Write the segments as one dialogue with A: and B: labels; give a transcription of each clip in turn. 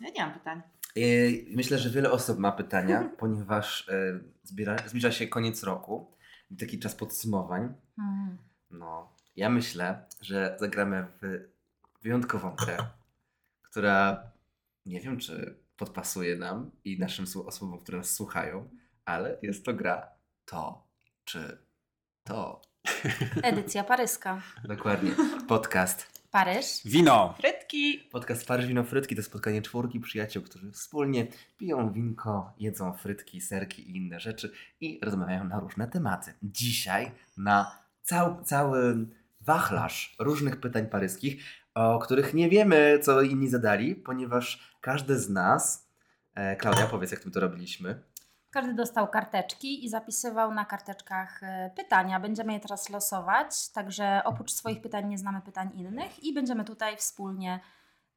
A: Ja nie mam pytań.
B: Yy, Myślę, że wiele osób ma pytania, ponieważ yy, zbiera, zbliża się koniec roku, taki czas podsumowań.
C: Mm.
B: No, ja myślę, że zagramy w wyjątkową grę, która nie wiem, czy podpasuje nam i naszym słu- osobom, które nas słuchają, ale jest to gra to czy to.
C: Edycja paryska.
B: Dokładnie. Podcast.
C: Paryż.
D: Wino!
A: Frytki!
B: Podcast Paryż Wino Frytki to spotkanie czwórki przyjaciół, którzy wspólnie piją winko, jedzą frytki, serki i inne rzeczy i rozmawiają na różne tematy. Dzisiaj na cał, cały wachlarz różnych pytań paryskich, o których nie wiemy, co inni zadali, ponieważ każdy z nas... E, Klaudia, powiedz, jak my to robiliśmy.
C: Każdy dostał karteczki i zapisywał na karteczkach e, pytania. Będziemy je teraz losować, także oprócz swoich pytań nie znamy pytań innych i będziemy tutaj wspólnie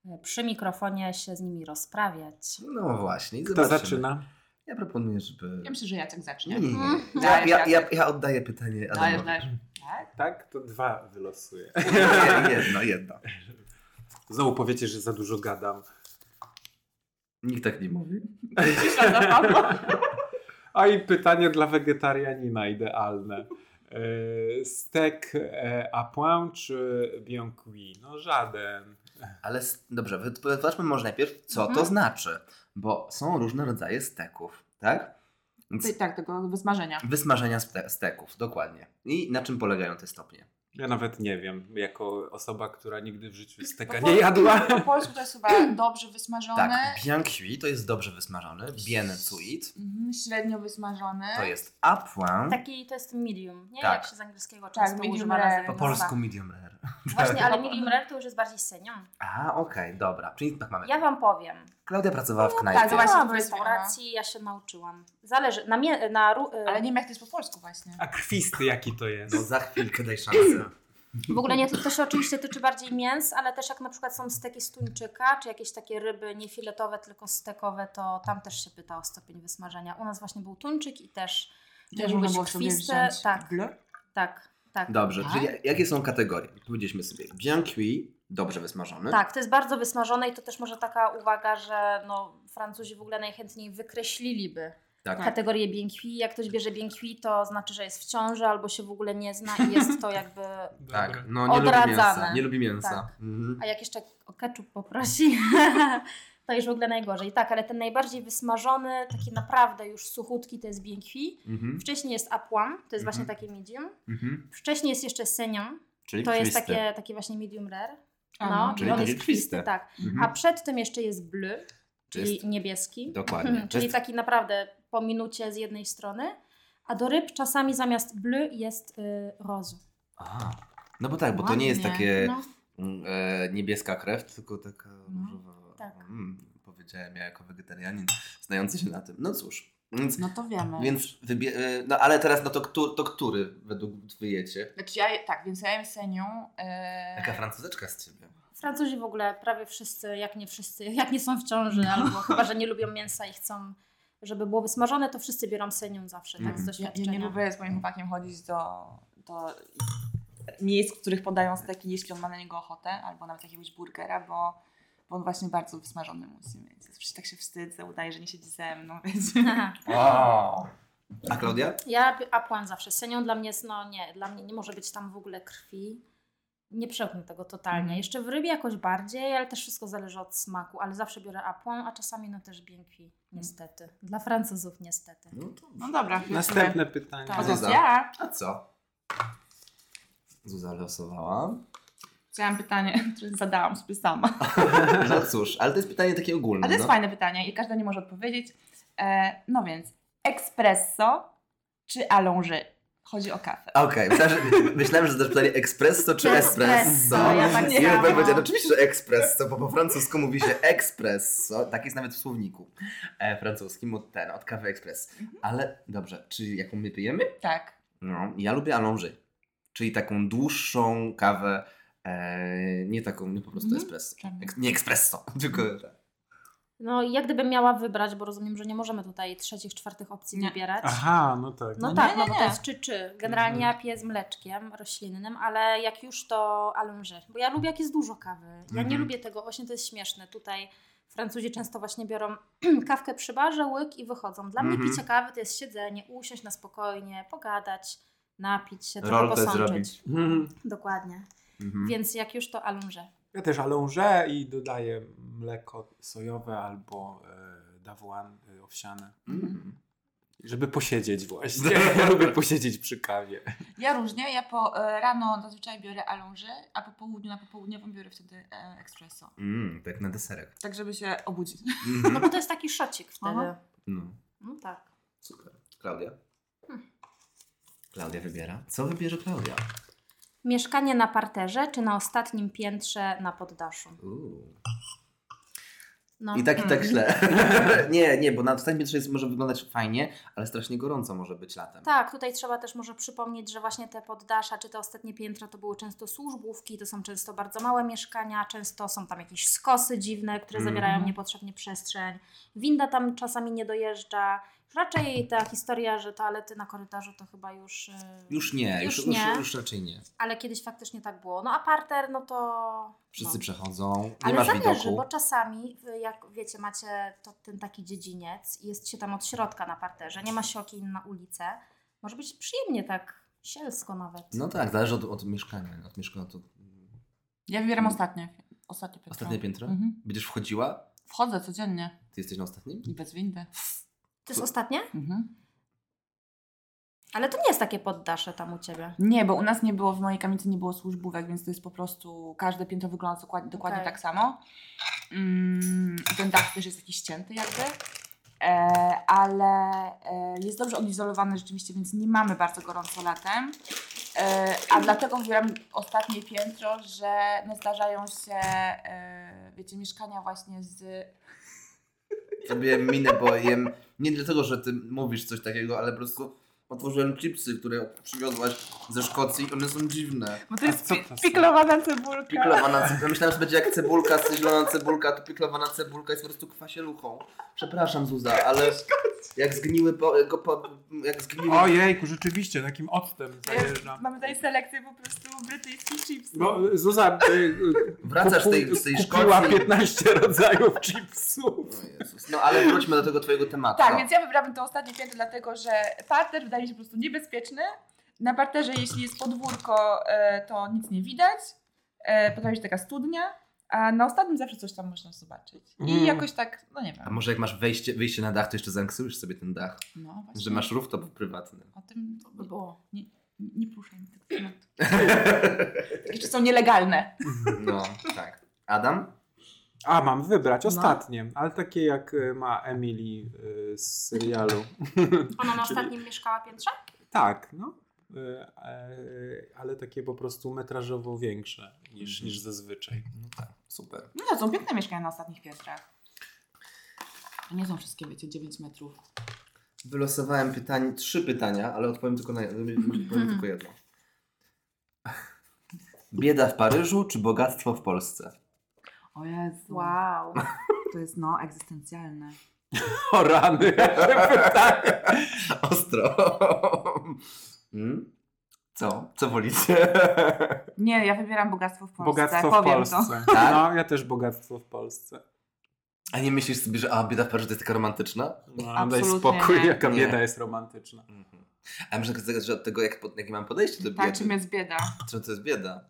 C: e, przy mikrofonie się z nimi rozprawiać.
B: No właśnie. i
D: Kto
B: zobaczymy.
D: zaczyna?
B: Ja proponuję, żeby...
A: Ja myślę, że Jacek zacznie.
B: Nie, nie, nie. Ja,
A: Dajesz,
B: ja, ja,
A: Jacek.
B: ja oddaję pytanie
A: Dajesz,
B: Adamowi.
A: dajesz. Tak?
D: Tak, to dwa wylosuję.
B: Nie, Jedno, jedno.
D: Znowu powiecie, że za dużo gadam.
B: Nikt tak nie mówi.
A: Cisza zapadła.
D: A i pytanie dla wegetarianina idealne. E, Stek e, à point czy bien cuit? No żaden.
B: Ale s- dobrze, wytłumaczmy może najpierw, co to
C: Mhm.
B: znaczy, bo są różne rodzaje steków, tak? Więc
A: Tak, tego wysmażenia.
B: wysmażenia ste- steków, dokładnie. I na czym polegają te stopnie?
D: Ja nawet nie wiem, jako osoba, która nigdy w życiu steka
A: Po
D: nie jadła.
A: Po polsku to jest chyba dobrze wysmażone.
B: Tak, bien cuit to jest dobrze wysmażony, bien cuit
A: Mhm, Średnio wysmażone.
C: Tak.
B: to jest à point,
C: Taki to jest medium, nie?
B: Tak.
C: Jak się z angielskiego
A: Tak,
C: często
A: medium
C: używa
A: rare.
C: na
B: po
A: tak.
B: polsku medium rare.
C: Właśnie, ale medium rare to już jest bardziej senior.
B: A, okej, dobra, czyli tak mamy.
C: Ja Wam powiem.
B: Klaudia pracowała w
A: tak,
B: knajpie.
A: właśnie
C: Byłam w
A: powiedz mi,
C: restauracji, ja się nauczyłam. Zależy, na, mie- na, ru- e,
A: Ale nie wiem, jak to jest po polsku właśnie.
D: A kwisty jaki to jest?
B: No za chwilkę daj szansę.
C: Tak. W ogóle nie, to się oczywiście tyczy bardziej mięs, ale też jak na przykład są steki z tuńczyka, czy jakieś takie ryby nie filetowe, tylko stekowe, to tam też się pyta o stopień wysmażenia. U nas właśnie był tuńczyk i też,
A: Też
C: mógł
A: można
C: być
A: było sobie
C: kwisty,
A: wziąć.
C: tak.
A: Ble?
C: tak, tak.
B: Dobrze,
A: Tak?
B: czyli jakie są kategorie? Powiedzieliśmy sobie bien cuit, dobrze wysmażony.
C: Tak, to jest bardzo wysmażone i to też może taka uwaga, że no, Francuzi w ogóle najchętniej wykreśliliby
B: Tak.
C: kategorię biękwi. Jak ktoś bierze biękwi, to znaczy, że jest w ciąży albo się w ogóle nie zna i jest to jakby...
B: Tak,
D: Dobra.
B: no nie lubi
C: Odradzane.
B: mięsa. Nie lubi mięsa.
C: Tak.
B: Mhm.
C: A jak jeszcze o ketchup poprosi, to już w ogóle najgorzej. Tak, ale ten najbardziej wysmażony, taki naprawdę już suchutki, to jest biękwi.
B: Mhm.
C: Wcześniej jest apłam, to jest właśnie
B: Mhm.
C: takie medium.
B: Mhm.
C: Wcześniej jest jeszcze senion,
B: Czyli
C: to jest
B: kwisty.
C: takie, takie właśnie medium rare.
A: A,
C: No,
A: no.
B: czyli
C: i on
B: takie
C: jest kwisty,
B: krwiste.
C: tak.
B: Mhm.
C: A przed tym jeszcze jest bleu, czyli
B: Jest-
C: niebieski.
B: Dokładnie. To
C: czyli tak-
B: jest,
C: taki naprawdę po minucie z jednej strony. A do ryb czasami zamiast bleu jest y, rozu.
B: A, no bo tak, bo to nie jest
A: Ładnie.
B: takie
C: No,
B: mm, e, niebieska krew, tylko taka różowa.
C: tak.
B: Mm, powiedziałem ja jako wegetarianin znający się na tym. No cóż. Więc,
A: no to wiemy.
B: więc wybie- e, No ale teraz no to, któ- to który według wyjecie?
A: Znaczy ja, tak, więc ja jem senią. E...
B: Jaka francuzeczka z ciebie.
C: Francuzi w ogóle prawie wszyscy, jak nie wszyscy, jak nie są w
A: No.
C: ciąży, albo chyba, że nie lubią mięsa i chcą, żeby było wysmażone, to wszyscy biorą senią zawsze, tak,
B: Mhm.
C: z
A: Mm. ja,
C: doświadczenia.
A: ja nie lubię z moim chłopakiem chodzić do, do miejsc, w których podają steki, jeśli on ma na niego ochotę, albo nawet jakiegoś burgera, bo, bo on właśnie bardzo wysmażony musi mieć. Zawsze tak się wstydzę, udaje, że nie siedzi ze mną, więc...
B: O! A Klaudia?
C: Ja pi- apłan zawsze. Senią dla mnie jest, no nie, dla mnie nie może być tam w ogóle krwi. Nie przełknę tego totalnie.
A: Mhm.
C: Jeszcze w rybie jakoś bardziej, ale też wszystko zależy od smaku. Ale zawsze biorę apłan, a czasami no też
A: Mm.
C: biękwi, niestety. Dla Francuzów niestety.
B: No to...
A: No dobra.
D: Następne pytanie.
A: Tak.
B: Zuza.
A: Ja
B: A co? Zuza losowała.
A: chciałam pytanie, które zadałam sobie sama.
B: No cóż, ale to jest pytanie takie ogólne.
A: Ale to jest
B: no.
A: fajne pytanie i każda nie może odpowiedzieć. E, no więc, espresso czy allonge? Chodzi o kawę.
B: Okej, myślałem, że- myślałem, że zadasz pytanie espresso czy
C: Espresso,
B: espresso.
C: ja tak
B: I
C: samo.
B: Hubert powiedział, oczywiście, że espresso, bo po francusku mówi się espresso. Tak jest nawet w słowniku e, francuskim od ten, od kawy ekspres.
C: Mhm.
B: Ale dobrze, czy jaką my pijemy?
A: Tak.
B: No, ja lubię allonge, czyli taką dłuższą kawę, e, nie taką, nie po prostu
A: Mhm.
B: espresso. Ek- nie espresso, tylko...
C: No i jak gdybym miała wybrać, bo rozumiem, że nie możemy tutaj trzecich, czwartych opcji
A: Nie.
C: wybierać.
D: Aha, no tak.
C: No
A: nie,
C: tak,
A: nie,
C: no bo
A: nie.
C: to jest czy czy. Generalnie
B: Mhm.
C: ja piję z mleczkiem roślinnym, ale jak już to allonge. Bo ja lubię jak jest dużo kawy. Ja nie
B: Mhm.
C: lubię tego, właśnie to jest śmieszne. Tutaj Francuzi często właśnie biorą kawkę przy barze, łyk i wychodzą. Dla mnie
B: Mhm.
C: picie kawy to jest siedzenie, usiąść na spokojnie, pogadać, napić się, trochę
B: Rolkę
C: posączyć.
B: zrobić.
D: Hmm.
C: Dokładnie.
B: Mhm.
C: Więc jak już to alumrze.
D: Ja też alążę i dodaję mleko sojowe albo e, dawłan e, owsiane.
B: Mhm.
D: Żeby posiedzieć właśnie. Ja lubię posiedzieć przy kawie.
A: Ja różnie, ja po e, rano zazwyczaj biorę alonży, a po południu na popołudniową biorę wtedy e, espresso.
B: Mm, tak na deserek.
A: Tak, żeby się obudzić.
C: No
B: Mhm.
C: bo to jest taki szocik wtedy.
A: Aha.
B: No,
C: No tak.
B: super. Klaudia? Hmm. Klaudia wybiera. Co wybierze Klaudia?
C: Mieszkanie na parterze czy na ostatnim piętrze na poddaszu?
B: Uuu.
C: No.
B: I tak, i tak
C: Mm.
B: źle. nie, nie, bo na wstępie jest może wyglądać fajnie, ale strasznie gorąco może być latem.
C: Tak, tutaj trzeba też może przypomnieć, że właśnie te poddasza czy te ostatnie piętra to były często służbówki, to są często bardzo małe mieszkania, często są tam jakieś skosy dziwne, które
B: Mhm.
C: zabierają niepotrzebnie przestrzeń. Winda tam czasami nie dojeżdża. Raczej ta historia, że toalety na korytarzu to chyba już. y,
B: Już nie, już,
C: Już
B: już,
C: nie.
B: już, raczej nie.
C: Ale kiedyś faktycznie tak było. No a parter, no to.
B: Wszyscy
C: no.
B: przechodzą, nie
C: Ale
B: masz
C: zależy,
B: widoku.
C: bo czasami, y, jak wiecie, macie to, ten taki dziedziniec i jest się tam od środka na parterze, nie ma się okien na ulicę. Może być przyjemnie tak, sielsko nawet.
B: No tak, zależy od, od mieszkania. Od mieszkania to...
A: Ja wybieram ostatnie, ostatnie piętro.
B: Ostatnie piętro?
A: Mhm.
B: Będziesz wchodziła?
A: Wchodzę codziennie
B: Ty jesteś na ostatnim?
A: i bez windy.
C: To jest ostatnie?
A: Mhm.
C: Ale to nie jest takie poddasze tam u Ciebie.
A: Nie, bo u nas nie było, w mojej kamicy nie było służbówek, więc to jest po prostu, każde piętro wygląda dokładnie, dokładnie
C: Okej.
A: tak samo. Mm, ten dach też jest jakiś cięty jakby. E, ale e, jest dobrze odizolowany rzeczywiście, więc nie mamy bardzo gorąco latem. E, a dlatego wybieram ostatnie piętro, że no, zdarzają się, e, wiecie, mieszkania właśnie z
B: Sobie minę, bo jem. Nie dlatego, że ty mówisz coś takiego, ale po prostu otworzyłem chipsy, które przywiozłaś ze Szkocji i one są dziwne.
A: Bo
D: to jest pi-
A: piklowana cebulka.
B: Piklowana cebulka. Myślałem, że będzie jak cebulka, zielona cebulka, to piklowana cebulka jest po prostu kwasieluchą. Przepraszam Zuza, ale jak zgniły po, go po, jak zgniły...
D: Ojejku, rzeczywiście, takim octem zajeżdżam.
A: Mamy tutaj selekcję po prostu brytyjskich chipsów.
D: Bo Zuza y, y,
B: Wracasz z tej-
D: kupu-
B: z tej
D: kupiła
B: Szkocji.
D: 15 rodzajów chipsów.
B: O Jezus. No ale wróćmy do tego twojego tematu.
A: Tak,
B: no.
A: więc ja wybrałabym to ostatnie piętro, dlatego że parter wydaje mi się po prostu niebezpieczny. Na parterze, jeśli jest podwórko, e, to nic nie widać. E, Potrafi się taka studnia. A na ostatnim zawsze coś tam można zobaczyć.
D: Mm.
A: I jakoś tak, no nie
B: A
A: wiem.
B: może jak masz wejście, wyjście na dach, to jeszcze zanksujesz sobie ten dach,
A: No właśnie.
B: że masz rooftop prywatny.
A: O tym to
C: By
A: by było.
C: było.
A: Nie, nie proszę. mi tego tematu. Jeszcze są nielegalne.
B: No, tak. Adam?
D: A, mam wybrać
A: No.
D: ostatnie, ale takie jak y, ma Emily y, z serialu.
C: Ona na
D: Czyli-
C: ostatnim mieszkała piętrze?
D: Tak, no. Y, e, Ale takie po prostu metrażowo większe niż,
B: Mhm.
D: niż zazwyczaj.
B: No tak, super.
A: No to są piękne mieszkania na ostatnich piętrach. Nie są wszystkie, wiecie, 9 metrów.
B: Wylosowałem pytanie, trzy pytania, ale odpowiem tylko na
C: Mhm.
B: odpowiem tylko jedno. Bieda w Paryżu czy bogactwo w Polsce?
A: O Jezu.
C: Wow.
A: To jest no egzystencjalne.
D: O rany, jakie pytanie.
B: Ostro. Mm? Co? Co wolicie?
A: Nie, ja wybieram bogactwo w Polsce.
D: Bogactwo w
A: Powiem To.
D: Polsce.
B: Tak?
D: No, ja też bogactwo w Polsce.
B: A nie myślisz sobie, że a, bieda w Paryżu to jest taka romantyczna?
D: No, daj
A: Absolutnie
D: spokój,
A: nie.
D: jaka
B: Nie.
D: bieda jest romantyczna.
B: Mhm. A może że od tego, jak, pod- jakie mam podejście do
A: Tak,
B: biedy,
A: czym jest bieda?
B: czy to jest bieda?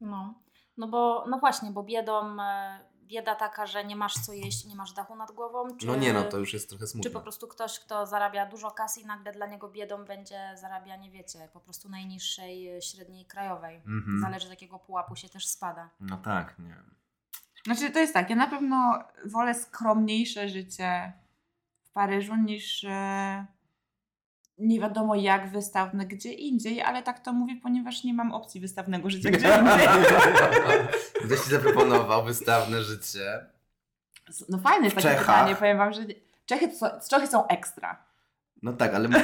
C: No, no bo, no właśnie, bo biedą, e, bieda taka, że nie masz co jeść, nie masz dachu nad głową. Czy,
B: No nie no, to już jest trochę
C: Czy
B: smutne.
C: po prostu ktoś, kto zarabia dużo kasy i nagle dla niego biedą będzie zarabianie, wiecie, po prostu najniższej e, średniej krajowej.
A: Mm.
B: Mhm.
C: Zależy z jakiego pułapu się też spada.
B: No tak, nie.
A: Znaczy, to jest tak, ja na pewno wolę skromniejsze życie w Paryżu niż e, nie wiadomo jak wystawne gdzie indziej, ale tak to mówię, ponieważ nie mam opcji wystawnego życia gdzie indziej.
B: Ktoś ci zaproponował wystawne życie.
A: No fajne jest
B: W
A: takie
B: Czechach.
A: pytanie, powiem wam, że Czechy, to są- Czechy są ekstra.
B: No tak, ale no,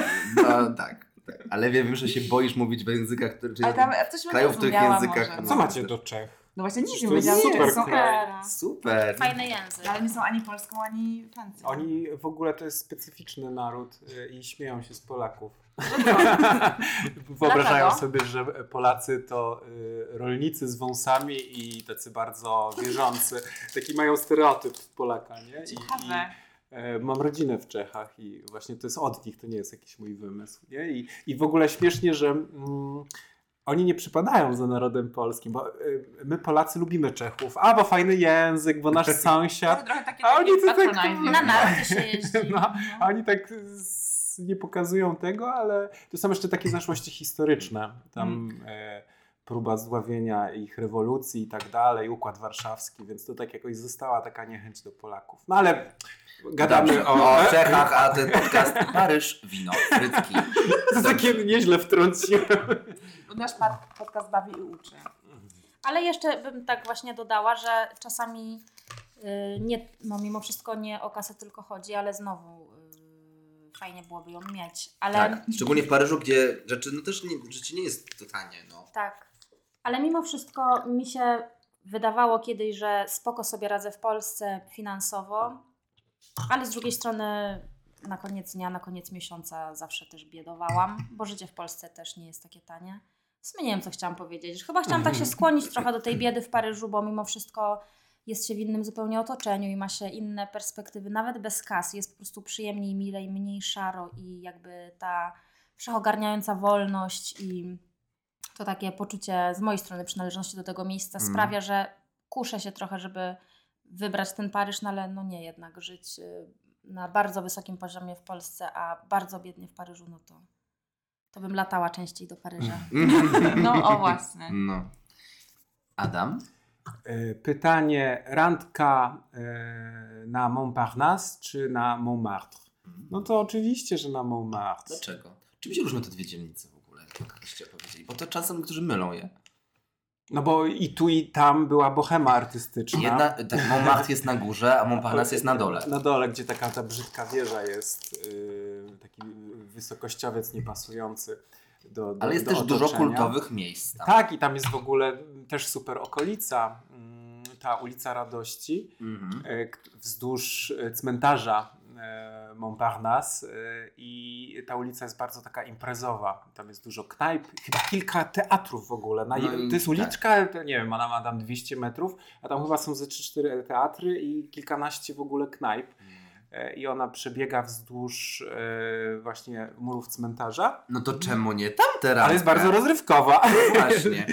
B: tak, tak. Ale wiem, że się boisz mówić w językach, które czyli
A: Ale tam coś bym
B: krajów, w których
A: rozumiała
B: językach
A: może.
D: A co macie do Czech?
A: No właśnie nic nie
D: To jest
A: powiedziałam,
D: super
A: że są
D: kraj.
A: ekstra.
B: super.
C: Fajny język.
A: Ale nie są ani Polską, ani Francją.
D: Oni w ogóle to jest specyficzny naród y, i śmieją się z Polaków.
C: No,
D: Wyobrażają
A: Dlaczego?
D: sobie, że e, Polacy to y, rolnicy z wąsami i tacy bardzo wierzący. Taki mają stereotyp Polaka, nie? I, i,
A: Ciekawe.
D: E, Mam rodzinę w Czechach i właśnie to jest od nich, to nie jest jakiś mój wymysł. Nie? I, I w ogóle śmiesznie, że mm, oni nie przypadają za narodem polskim, bo e, my Polacy lubimy Czechów. A, bo fajny język, bo nasz
A: To
D: sąsiad.
A: trochę takie
D: A oni
A: takie
D: to tak-
A: patronizing.
C: Na narty się jeździ.
D: No,
C: no.
D: a oni tak z, nie pokazują tego, ale to są jeszcze takie zaszłości historyczne. Tam
B: Mm.
D: e, próba zdławienia ich rewolucji i tak dalej, Układ Warszawski, więc to tak jakoś została taka niechęć do Polaków. No ale gadamy
B: Gadamy o Czechach, a ten podcast Paryż, wino, frytki.
D: To takie nieźle wtrąciłem.
A: Nasz pod- podcast bawi i uczy.
C: Ale jeszcze bym tak właśnie dodała, że czasami y, nie, no mimo wszystko nie o kasę tylko chodzi, ale znowu y, fajnie byłoby ją mieć. Ale
B: Tak, szczególnie w Paryżu, gdzie rzeczy, no też nie, życie nie jest to tanie, no.
C: Tak. Ale mimo wszystko mi się wydawało kiedyś, że spoko sobie radzę w Polsce finansowo, ale z drugiej strony na koniec dnia, na koniec miesiąca zawsze też biedowałam, bo życie w Polsce też nie jest takie tanie. W sumie nie wiem, co chciałam powiedzieć. Chyba chciałam tak się skłonić trochę do tej biedy w Paryżu, bo mimo wszystko jest się w innym zupełnie otoczeniu i ma się inne perspektywy, nawet bez kas. Jest po prostu przyjemniej, milej, mniej szaro i jakby ta wszechogarniająca wolność i to takie poczucie z mojej strony przynależności do tego miejsca
B: Mhm.
C: sprawia, że kuszę się trochę, żeby wybrać ten Paryż, no ale no nie jednak żyć y, na bardzo wysokim poziomie w Polsce, a bardzo biednie w Paryżu, no to to bym latała częściej do Paryża.
A: No o właśnie.
B: No. Adam?
D: E, Pytanie, randka e, na Montparnasse czy na Montmartre? No to oczywiście, że na Montmartre.
B: Dlaczego? Czym się różnią te dwie dzielnice w ogóle, jakbyście powiedzieli? Bo to czasem niektórzy mylą je.
D: No bo i tu i tam była bohema artystyczna.
B: Jedna, tak, Montmartre jest na górze, a Montparnasse jest na dole.
D: Na dole, gdzie taka ta brzydka wieża jest, e, taki wysokościowiec niepasujący do, do
B: Ale jest
D: do
B: też dużo
D: otoczenia.
B: kultowych miejsc tam.
D: Tak, i tam jest w ogóle też super okolica, mm, ta ulica Radości.
B: Mhm.
D: e, k- wzdłuż e, cmentarza e, Montparnasse e, i ta ulica jest bardzo taka imprezowa. Tam jest dużo knajp, chyba kilka teatrów w ogóle. Na,
B: No i-
D: to jest uliczka, to nie wiem, ona ma tam 200 metrów, a tam chyba są ze 3-4 teatry i kilkanaście w ogóle knajp.
B: Mm.
D: E, I ona przebiega wzdłuż e, właśnie murów cmentarza,
B: No to czemu nie tam teraz?
D: ale jest bardzo rozrywkowa.
B: Właśnie.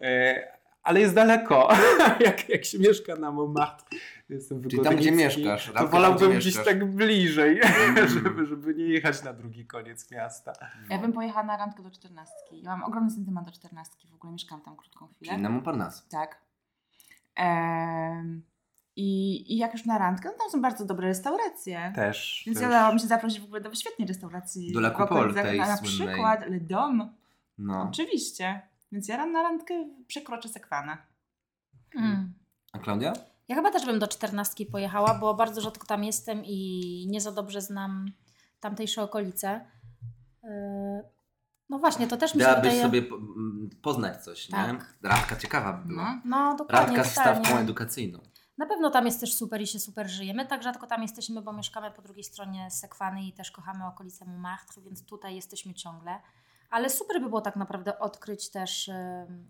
D: E, ale jest daleko, jak, jak się mieszka na Montmartre. Jestem
B: Czyli tam, gdzie
D: wygodnicki,
B: mieszkasz, tam,
D: To
B: gdzie
D: wolałbym
B: mieszkasz.
D: gdzieś tak bliżej,
B: Mm.
D: żeby, żeby nie jechać na drugi koniec miasta.
A: Ja bym pojechała na randkę do czternastki. Ja mam ogromny sentyment do czternastki. W ogóle mieszkałam tam krótką chwilę.
B: Czyli na Montparnasse.
A: Tak. Em, i, I jak już na randkę, no tam są bardzo dobre restauracje.
D: Też.
A: Więc
D: też.
A: ja dałam się zaprosić w ogóle do świetnej restauracji.
B: Tak, Do La
A: w
B: Coupole
A: okolicach,
B: tej
A: a Na
B: słynnej.
A: przykład Le Dom.
B: No.
A: Oczywiście. Więc ja na randkę przekroczę sekwanę.
C: Mm.
B: A Klaudia?
C: Ja chyba też bym do czternastki pojechała, bo bardzo rzadko tam jestem i nie za dobrze znam tamtejsze okolice. Yy, No właśnie, to też mi się
B: Dałabyś
C: wydaje...
B: sobie po- m, poznać coś,
C: Tak.
B: nie? Radka ciekawa by była.
C: No dokładnie,
B: Radka z stawką
C: totalnie.
B: edukacyjną.
C: Na pewno tam jest też super i się super żyjemy. Tak rzadko tam jesteśmy, bo mieszkamy po drugiej stronie Sekwany i też kochamy okolice Montmartre, więc tutaj jesteśmy ciągle. Ale super by było tak naprawdę odkryć też em,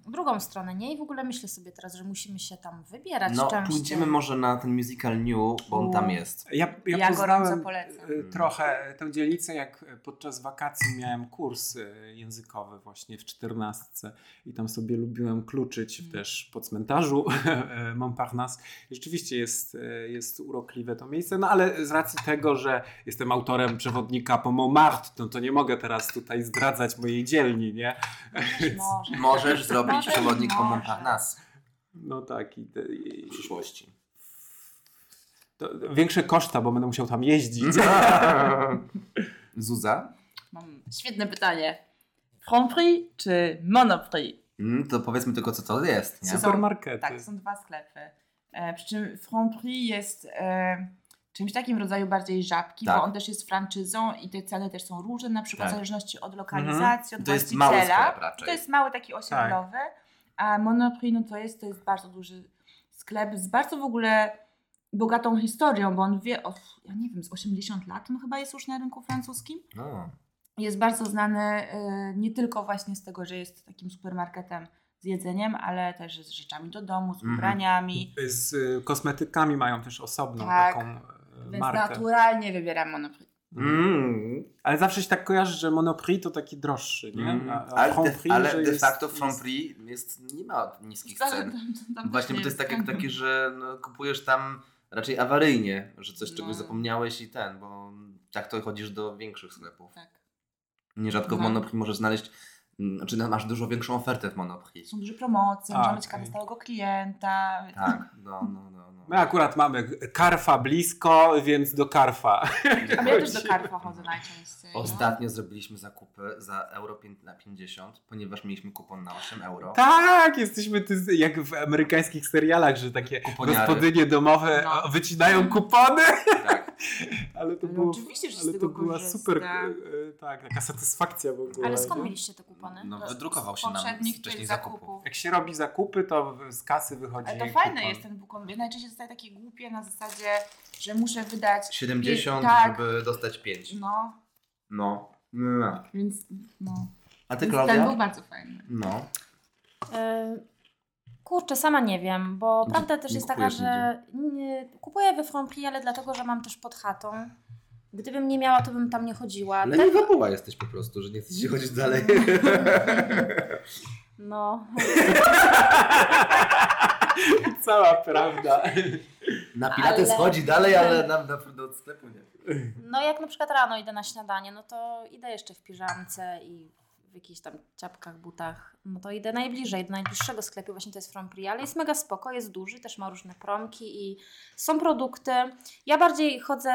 C: drugą stronę, nie? I w ogóle myślę sobie teraz, że musimy się tam wybierać
B: No,
C: częściej.
B: pójdziemy może na ten musical New, bo on tam jest.
D: Ja, ja,
A: Ja gorąco
D: poznałem
A: polecam.
D: e, trochę tę dzielnicę, jak podczas wakacji miałem kurs e, językowy właśnie w czternastce i tam sobie lubiłem kluczyć
A: Mm.
D: też po cmentarzu e, Montparnasse. I Rzeczywiście jest, e, jest urokliwe to miejsce, no ale z racji tego, że jestem autorem przewodnika po Montmartre, no to nie mogę teraz tutaj zdradzać mojej dzielni, nie?
A: Być może.
B: Możesz zrobić
A: Może,
B: przewodnik po
A: może.
B: Montparnasse
D: No tak. I, te- i,
B: w przyszłości.
D: to, większe koszta, bo będę musiał tam jeździć.
B: Mhm. Zuza?
A: Mam świetne pytanie. Grand Prix czy Monoprix?
B: Mm, to powiedzmy tylko, co to jest, nie?
A: Co za-
D: Supermarkety.
A: Tak, są dwa sklepy. E, przy czym Franprix jest e, czymś takim w rodzaju bardziej żabki,
B: Tak.
A: bo on też jest franczyzą i te ceny też są różne, na przykład
B: Tak.
A: w zależności od lokalizacji, od
B: To jest mały
A: właściciela.
B: sklep raczej.
A: to jest mały taki osiedlowy, a Monoprix no to jest, to jest bardzo duży sklep z bardzo w ogóle bogatą historią, bo on wie, o, ja nie wiem, z 80 lat on chyba jest już na rynku francuskim.
B: No.
A: jest bardzo znany y, nie tylko właśnie z tego, że jest takim supermarketem z jedzeniem, ale też z rzeczami do domu, z
B: Mhm.
A: ubraniami.
D: Z y, kosmetykami mają też osobną
A: Tak,
D: taką y,
A: Więc
D: markę.
A: naturalnie wybieram Monoprix.
D: Mm. Ale zawsze się tak kojarzy, że Monoprix to taki droższy, nie?
B: Mm.
D: A- a
B: Ale,
D: Franprix,
B: de, ale
D: że
B: de
D: jest-
B: facto
D: jest-
B: Franprix jest, nie ma niskich
A: Tam-
B: cen.
A: tam- tam
B: Właśnie, bo
A: też
B: to jest tak, jak,
A: nie
B: takie, że no, kupujesz tam raczej awaryjnie, że coś
A: No.
B: czegoś zapomniałeś i ten, bo tak to chodzisz do większych sklepów.
A: Tak.
B: Nierzadko w
A: No.
B: Monoprix możesz znaleźć, mm, znaczy no, masz dużo większą ofertę w Monoprix.
A: Są duże promocje,
D: A,
A: możemy mieć kartę
D: okej.
A: stałego klienta.
B: Tak, no, no, no. no.
D: My akurat mamy Karfa blisko, więc do Karfa.
A: A ja też do Carrefour chodzę najczęściej. no.
B: Ostatnio zrobiliśmy zakupy za euro pię- na 50, ponieważ mieliśmy kupon na 8 euro.
D: Tak, jesteśmy ty, jak w amerykańskich serialach, że takie
B: Kuponiary.
D: gospodynie domowe
A: No.
D: o, wycinają kupony.
B: Tak.
D: Ale to
A: No
D: było,
A: oczywiście, że z
D: ale
A: tego
D: to była
A: korzysta.
D: super, e, tak, taka satysfakcja w ogóle.
C: Ale skąd
D: nie?
C: mieliście te kupony?
B: No,
C: Do-
B: wydrukował
A: Z
B: się nam
A: poprzednich
B: z
A: tych
B: wcześniej zakupów.
D: Jak się robi zakupy, to w- z kasy wychodzi
A: Ale to
D: kupon.
A: fajne jest ten bukon. Ja najczęściej dostaję takie głupie na zasadzie, że muszę wydać.
B: 70,
A: Tak.
B: żeby dostać 5.
A: No,
B: No. no.
A: więc no.
B: A ty,
A: Więc ten był
B: Klaudia?
A: bardzo fajny.
B: No.
C: E, Kurczę, sama nie wiem, bo
B: Gdzie-
C: prawda też
B: nie
C: jest taka,
B: kupujesz
C: że nie, kupuję we Franprix, ale dlatego, że mam też pod chatą. Gdybym nie miała, to bym tam nie chodziła. Tak,
B: Leniwa była jesteś po prostu, że nie chcesz się chodzić dalej.
C: no,
D: Cała prawda.
B: Na pilates
C: Ale-
B: chodzi dalej, ale na, na, do sklepu nie.
C: no jak na przykład rano idę na śniadanie, no to idę jeszcze w piżamce i w jakichś tam ciapkach, butach. No to idę najbliżej, do najbliższego sklepu, właśnie to jest Franprix, ale jest mega spoko, jest duży, też ma różne promki i są produkty. Ja bardziej chodzę,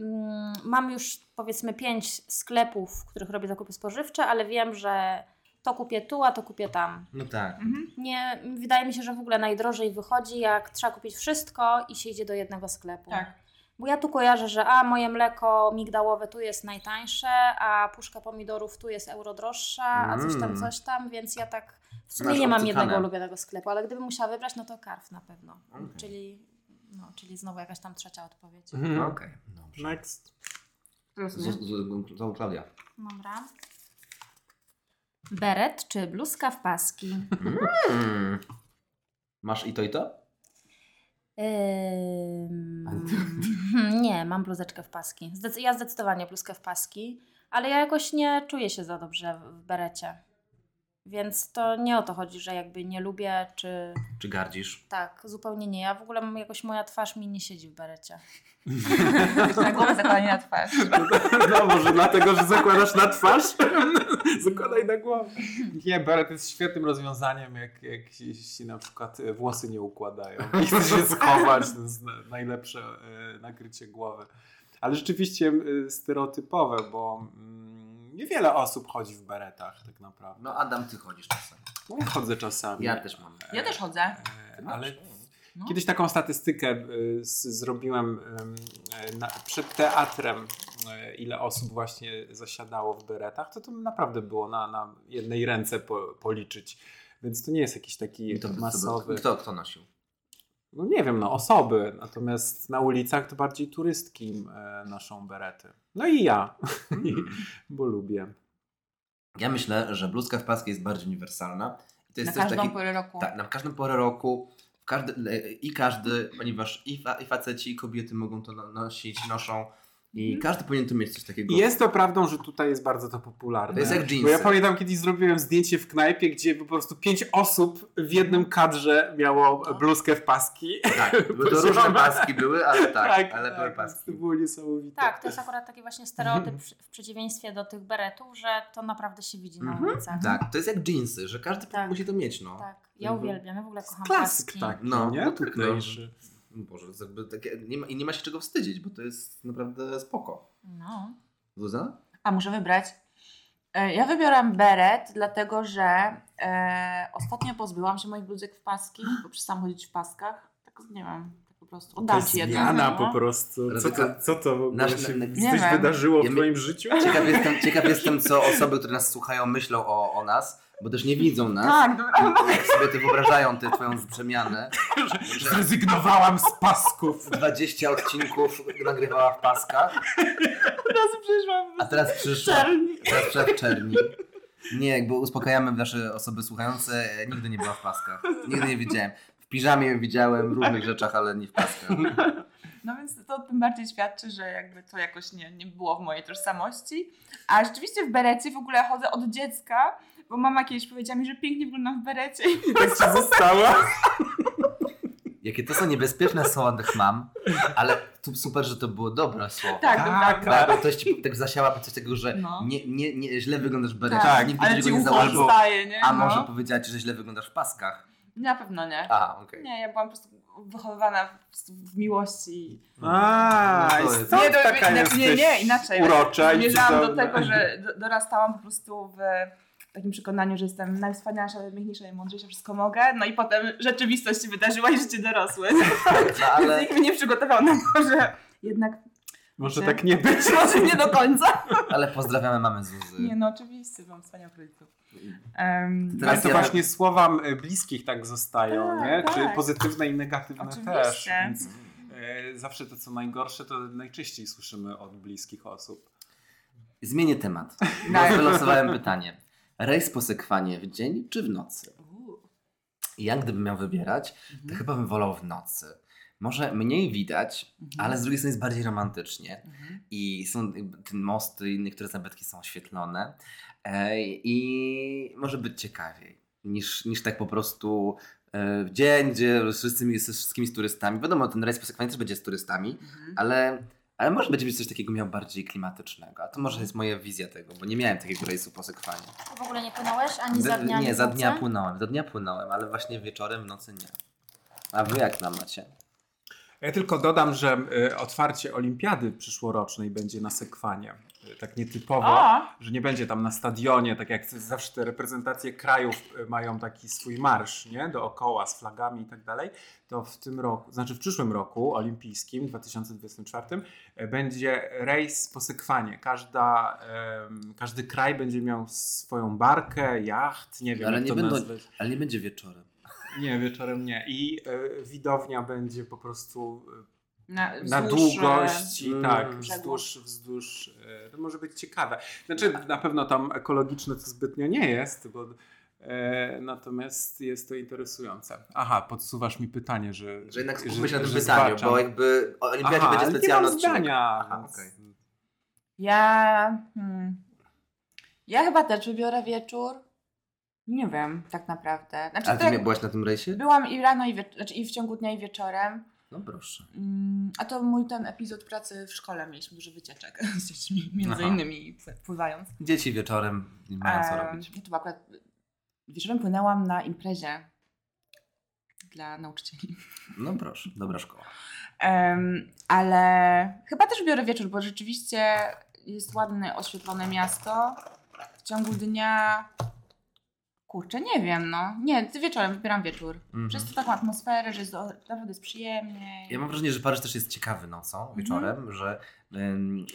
C: mm, mam już powiedzmy pięć sklepów, w których robię zakupy spożywcze, ale wiem, że to kupię tu, a to kupię tam.
B: No tak.
A: Mhm.
C: Nie, wydaje mi się, że w ogóle najdrożej wychodzi, jak trzeba kupić wszystko i się idzie do jednego sklepu.
A: Tak.
C: Bo ja tu kojarzę, że a moje mleko migdałowe tu jest najtańsze, a puszka pomidorów tu jest euro droższa, a coś tam,
B: Mm.
C: coś tam, więc ja tak w sumie
B: Masz
C: nie mam
B: obcykane.
C: jednego ulubionego sklepu, ale gdybym musiała wybrać, no to Karf na pewno.
B: Okej.
C: Czyli, no, czyli znowu jakaś tam trzecia odpowiedź.
B: No Okej.
D: Mhm.
B: Dobrze.
D: Next.
B: Z, z, z, to Klaudia.
C: Dobra. Beret czy bluzka w paski?
B: Mm. Masz i to, i to?
C: Ym, nie, mam bluzeczkę w paski. Zdecy- ja zdecydowanie bluzkę w paski, ale ja jakoś nie czuję się za dobrze w- w berecie. Więc to nie o to chodzi, że jakby nie lubię, czy
B: Czy gardzisz?
C: tak, zupełnie nie. Ja w ogóle mam jakoś moja twarz mi nie siedzi w berecie.
A: Na głowę zakładanie Tak, na twarz.
D: No może dlatego, że zakładasz na twarz? Zakładaj
B: tak.
D: na głowę. Nie, beret jest świetnym rozwiązaniem, jak, jak się, się na przykład e, włosy nie układają i chcesz się schować. To jest na- najlepsze e, nakrycie głowy. Ale rzeczywiście e, stereotypowe, bo mm, niewiele osób chodzi w beretach tak naprawdę.
B: No Adam, ty chodzisz czasem.
D: No, ja chodzę czasami.
B: Ja też mam.
A: Ja też chodzę.
D: E,
B: masz?
D: Ale
A: No.
D: kiedyś taką statystykę y, z, zrobiłem ym, y, na, przed teatrem, y, ile osób właśnie zasiadało w beretach, to to naprawdę było na, na jednej ręce po, policzyć. Więc to nie jest jakiś taki
B: I to
D: masowy.
B: Kto, kto nosił?
D: No nie wiem, no osoby. Natomiast na ulicach to bardziej turystki y, noszą berety. No i ja, bo lubię.
B: Ja myślę, że bluzka w paski jest bardziej uniwersalna. I to
A: Na
B: jest coś
A: każdą
B: taki,
A: porę roku.
B: Tak, na każdą porę roku. W każdy, le- I każdy, ponieważ i, fa, i faceci, i kobiety mogą to no- nosić, noszą. I
C: Mhm.
B: każdy powinien tu mieć coś takiego.
D: I jest to prawdą, że tutaj jest bardzo to popularne.
B: To jest jak
D: Bo ja
B: jeansy.
D: pamiętam, kiedyś zrobiłem zdjęcie w knajpie, gdzie po prostu pięć osób w jednym kadrze miało bluzkę w paski.
B: Tak, bo to różne paski były, ale tak, ale były
D: To
B: paski.
D: było niesamowite.
C: Tak, to jest akurat taki właśnie stereotyp
D: Mhm.
C: przy- w przeciwieństwie do tych beretów, że to naprawdę się widzi na
B: Mhm,
C: ulicach.
B: Tak, to jest jak jeansy, że każdy
C: Tak.
B: musi to mieć, no.
C: Tak, ja
D: Mhm.
C: uwielbiam, ja w ogóle kocham
D: Klasyk
C: paski.
D: taki,
B: No,
D: nie?
B: no tak, no.
D: Tutejszy.
B: Boże, to jest jakby takie, nie ma, i nie ma się czego wstydzić, bo to jest naprawdę spoko.
C: No.
B: Zuza?
A: A muszę wybrać. E, Ja wybieram beret, dlatego że e, ostatnio pozbyłam się moich bluzek w paski, bo przestałam chodzić w paskach. Tak, nie wiem, tak po prostu. Oddam ci jedno.
D: zmiana
A: no.
D: po prostu. Co to, co to w ogóle
B: Nasz-
D: się
B: na-
A: nie
D: coś
A: wiem.
D: wydarzyło
B: Ja
D: w
B: my-
D: twoim życiu?
B: Ciekaw jestem, ciekaw jestem, co osoby, które nas słuchają, myślą o, o nas, bo też nie widzą nas.
A: Tak, dobra.
B: Jak sobie ty wyobrażają tę twoją przemianę, że
D: Zrezygnowałam z pasków.
B: 20 odcinków nagrywała w paskach,
A: Teraz przyszłam
B: a teraz przyszła,
A: szczelnie.
B: teraz przyszła w czerni. Nie, bo uspokajamy nasze osoby słuchające, e, nigdy nie była w paskach. Nigdy nie widziałem. W piżamie ją widziałem, w różnych rzeczach, ale nie w paskach.
A: No więc to tym bardziej świadczy, że jakby to jakoś nie, nie było w mojej tożsamości. A rzeczywiście w berecie w ogóle chodzę od dziecka, bo mama kiedyś powiedziała mi, że pięknie wyglądam w berecie.
D: I tak się została.
B: Jakie to są niebezpieczne słowa tych mam, ale tu super, że to było dobre słowo.
A: Tak,
D: Tak,
A: dobra.
B: Tak, bo ktoś ci tak zasiałaby coś takiego, że
A: No.
B: nie, nie, nie, źle wyglądasz w berecie,
D: Tak,
B: nigdy
A: ale
B: tego
A: ci
B: nie
A: ucho
B: założył.
A: zostaje, nie?
B: A
A: No.
B: może Tak. powiedziała ci, że źle wyglądasz w paskach.
A: Na pewno nie.
B: Aha, okej.
A: Nie, ja byłam po prostu wychowywana w, prostu w miłości.
D: A,
B: No to
D: i
B: jest-
D: stąd
A: Nie, to-
D: taka
A: nie,
D: jesteś
A: nie, nie, inaczej.
D: urocza i
A: Zmierzałam do
D: cudowna.
A: tego, że do- dorastałam po prostu w takim przekonaniu, że jestem najwspanialsza, najpiękniejsza, najmądrzejsza, wszystko mogę. No i potem rzeczywistość się wydarzyła i życie dorosłe.
B: No, ale
A: Nikt mnie nie przygotował na to, że jednak
D: Może tak nie być.
A: może nie do końca.
B: Ale pozdrawiamy mamy Zuzy.
A: Nie no, oczywiście, mam wspaniałych rodziców.
D: Ale
B: Teraz
D: to
B: ja-
D: właśnie słowa y, bliskich tak zostają,
A: Tak,
D: nie?
A: tak.
D: Czy pozytywne i negatywne
A: Oczywiście.
D: też. Więc y, zawsze to, co najgorsze, to najczęściej słyszymy od bliskich osób.
B: Zmienię temat.
A: Tak.
B: Bo wylosowałem pytanie. Rejs po sekwanie w dzień czy w nocy? I Ja gdybym miał wybierać, to chyba bym wolał w nocy. Może mniej widać, ale z drugiej strony jest bardziej romantycznie. I są ten most i niektóre zabytki są oświetlone. E, I może być ciekawiej niż, niż tak po prostu e, w dzień, gdzie z wszystkimi, ze wszystkimi z turystami. Wiadomo, ten rejs po sekwanie też będzie z turystami,
C: Mhm.
B: ale, ale może będzie być coś takiego miał bardziej klimatycznego. A to może jest moja wizja tego, bo nie miałem takiego rejsu po sekwanie.
C: To w ogóle nie płynąłeś ani
B: D-
C: za dnia,
B: nie,
C: ani
B: za
C: w
B: dnia
C: nocy?
B: płynąłem, za dnia płynąłem, ale właśnie wieczorem, w nocy nie. A wy jak tam macie?
D: Ja tylko dodam, że y, otwarcie olimpiady przyszłorocznej będzie na sekwanie. Y, Tak nietypowo.
A: A,
D: że nie będzie tam na stadionie, tak jak zawsze te reprezentacje krajów y, mają taki swój marsz, nie? Dookoła z flagami i tak dalej, to w tym roku, znaczy w przyszłym roku olimpijskim, 2024, y, będzie rejs po sekwanie. Każda, em, każdy kraj będzie miał swoją barkę, jacht, nie wiem
B: Ale
D: jak
B: nie
D: to
B: będą-
D: nazwać.
B: Ale nie będzie wieczorem.
D: Nie, wieczorem nie. I y, widownia będzie po prostu y,
A: na,
D: na
A: wzdłuż,
D: długość i
B: Mm.
D: tak,
B: Brzegu.
D: wzdłuż, wzdłuż. e, To może być ciekawe. Znaczy, na pewno tam ekologiczne to zbytnio nie jest, bo, e, natomiast jest to interesujące. Aha, podsuwasz mi pytanie, że.
B: Że jednak skupmy się na tym
D: że
B: pytaniu,
D: zbaczam.
B: bo jakby o olimpiadzie
D: Aha, ale
B: będzie specjalny
D: nie mam
B: odcinek.
D: zdania.
B: Aha,
D: więc-
B: okej.
A: Ja. Hmm. Ja chyba też wybiorę wieczór. Nie wiem, tak naprawdę. Znaczy,
B: A
A: to
B: ty
A: jak
B: nie byłaś na tym rejsie?
A: byłam i rano, i, wiecz- znaczy i w ciągu dnia, i wieczorem.
B: No proszę.
A: Mm, A to mój ten epizod pracy w szkole. Mieliśmy dużo wycieczek z dziećmi, między
B: Aha.
A: innymi pływając.
B: Dzieci wieczorem nie mają co
A: Em,
B: robić.
A: Ja to była akurat wieczorem płynęłam na imprezie dla nauczycieli.
B: No proszę, dobra szkoła.
A: Em, ale chyba też biorę wieczór, bo rzeczywiście jest ładne, oświetlone miasto. W ciągu dnia. Kurczę, nie wiem, no. Nie, ty wieczorem wybieram wieczór.
B: Mhm.
A: Przez to taką atmosferę, że jest do, naprawdę jest przyjemnie.
B: Ja mam wrażenie, że Paryż też jest ciekawy
A: Mhm.
B: nocą, wieczorem, że em,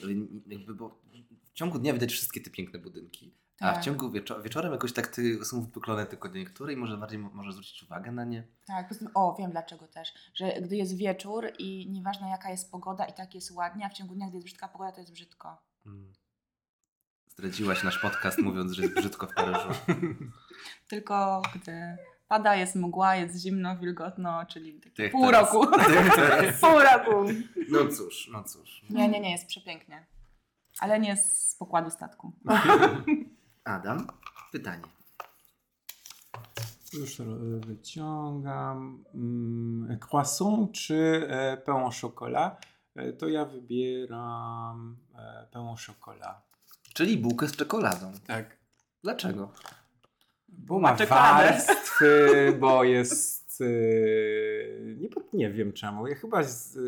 B: jakby, bo w ciągu dnia widać wszystkie te piękne budynki, a
A: Tak.
B: w ciągu wieczo- wieczorem jakoś tak ty, są wypuklone tylko niektóre i może bardziej mo- może zwrócić uwagę na nie.
A: Tak, poza tym, o wiem dlaczego też, że gdy jest wieczór i nieważne jaka jest pogoda i tak jest ładnie, a w ciągu dnia, gdy jest brzydka pogoda, to jest brzydko.
B: Mm. Zdradziłaś nasz podcast mówiąc, że jest brzydko w Paryżu.
A: Tylko gdy pada, jest mgła, jest zimno, wilgotno, czyli
B: Tak jak
A: pół
B: teraz.
A: roku.
B: Tak jak teraz.
A: pół roku.
B: No cóż, no cóż.
A: Nie, nie, nie, jest przepięknie. Ale nie z pokładu statku.
B: Adam, pytanie.
D: Już e, wyciągam. Mm, Croissant czy e, pain au chocolat? E, To ja wybieram e, pain au chocolat.
B: Czyli bułkę z czekoladą.
D: Tak.
B: Dlaczego?
D: Bo ma
A: czekoladę.
D: warstwy, bo jest. Yy, nie, pod- nie wiem czemu. Ja chyba z.
B: To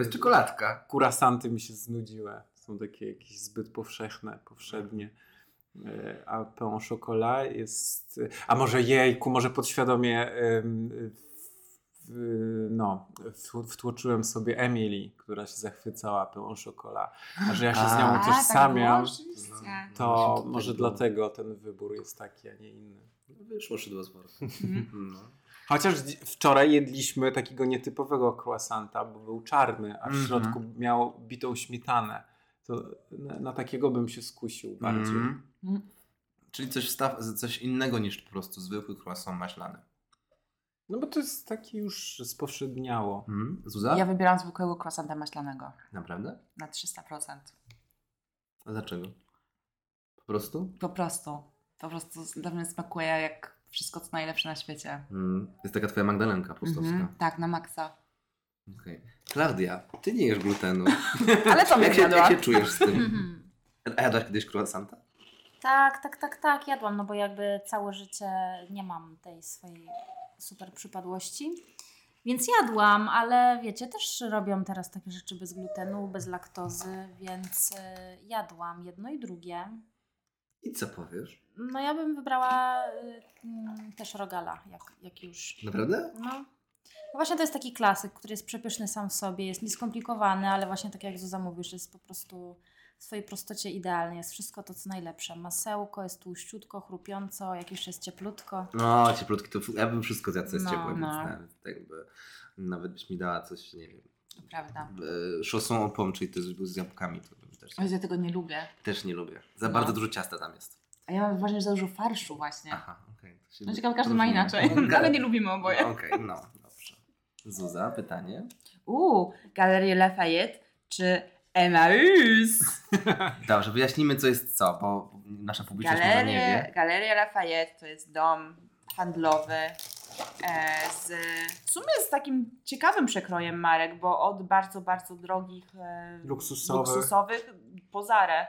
B: jest
D: Yy,
B: czekoladka.
D: kurasanty mi się znudziły. Są takie jakieś zbyt powszechne, powszednie. Yy, a pain au chocolat jest. A może jejku, może podświadomie. Yy, w, no, w- wtłoczyłem sobie Emily, która się zachwycała pyłą szokola, a że ja się z
B: A, tak,
D: nią
A: A, tak było,
D: utożsamiam,
A: oczywiście.
D: to
B: Właśnie
D: może
B: było.
D: dlatego ten wybór jest taki, a nie inny.
B: Wyszło szydło z worka.
A: Mhm.
B: No.
D: Chociaż dzi- wczoraj jedliśmy takiego nietypowego croissanta, bo był czarny, a w
B: Mhm.
D: środku miał bitą śmietanę. To na, na takiego bym się skusił bardziej.
B: Mhm.
A: Mm.
B: Czyli coś, staw, coś innego niż po prostu zwykły croissant maślany.
D: No bo to jest takie już spowszedniało.
B: Mm. Zuza?
A: Ja wybieram zwykłego croissanta maślanego
B: Naprawdę?
A: na 300%.
B: A dlaczego? Po prostu?
A: Po prostu. Po prostu dla mnie smakuje jak wszystko co najlepsze na świecie.
B: Mm. Jest taka twoja Magdalenka pustowska.
A: Mhm, tak, na maksa.
B: Okej. Klaudia, ty nie jesz glutenu.
A: Ale to mnie
B: jak, się, jak
A: zjadła.
B: się czujesz z tym?
C: Mhm.
B: A jadłaś kiedyś croissanta?
C: Tak, tak, tak, tak, jadłam, no bo jakby całe życie nie mam tej swojej super przypadłości. Więc jadłam, ale wiecie, też robią teraz takie rzeczy bez glutenu, bez laktozy, więc y, jadłam jedno i drugie.
B: I co powiesz?
C: No ja bym wybrała y, mm, też rogala, jak, jak już.
B: Naprawdę?
C: No. No właśnie to jest taki klasyk, który jest przepyszny sam w sobie, jest nieskomplikowany, ale właśnie tak jak Zuza mówisz, jest po prostu w swojej prostocie idealny, jest wszystko to, co najlepsze. Masełko, jest tłuściutko, chrupiąco, jak jeszcze jest cieplutko.
B: No, cieplutki, to ja bym wszystko zjadł, co jest
C: No,
B: ciepłe, więc
A: no.
B: nawet, jakby, nawet byś mi dała coś, nie wiem,
A: To prawda.
B: e, szosą opon, czyli to z, z jabłkami, to bym też,
A: Ale Ja tego nie lubię.
B: też nie lubię. Za
A: No.
B: bardzo dużo ciasta tam jest.
A: A ja mam wrażenie, że za dużo farszu właśnie.
B: Aha, okej. to się-
A: No ciekawe,
B: to
A: każdy ma
B: różnie.
A: inaczej.
B: Okej.
A: Ale nie lubimy
B: No,
A: oboje.
B: Okej, no, dobrze. Zuza, pytanie?
A: Uuu, Galerie Lafayette czy Emmaüs?
B: Dobrze, wyjaśnijmy, co jest co, bo nasza publiczność może nie
A: Galerie,
B: wie.
A: Galeria Lafayette to jest dom handlowy e, z, w sumie z takim ciekawym przekrojem marek, bo od bardzo, bardzo drogich e,
D: Luksusowych.
A: luksusowych po Zarę.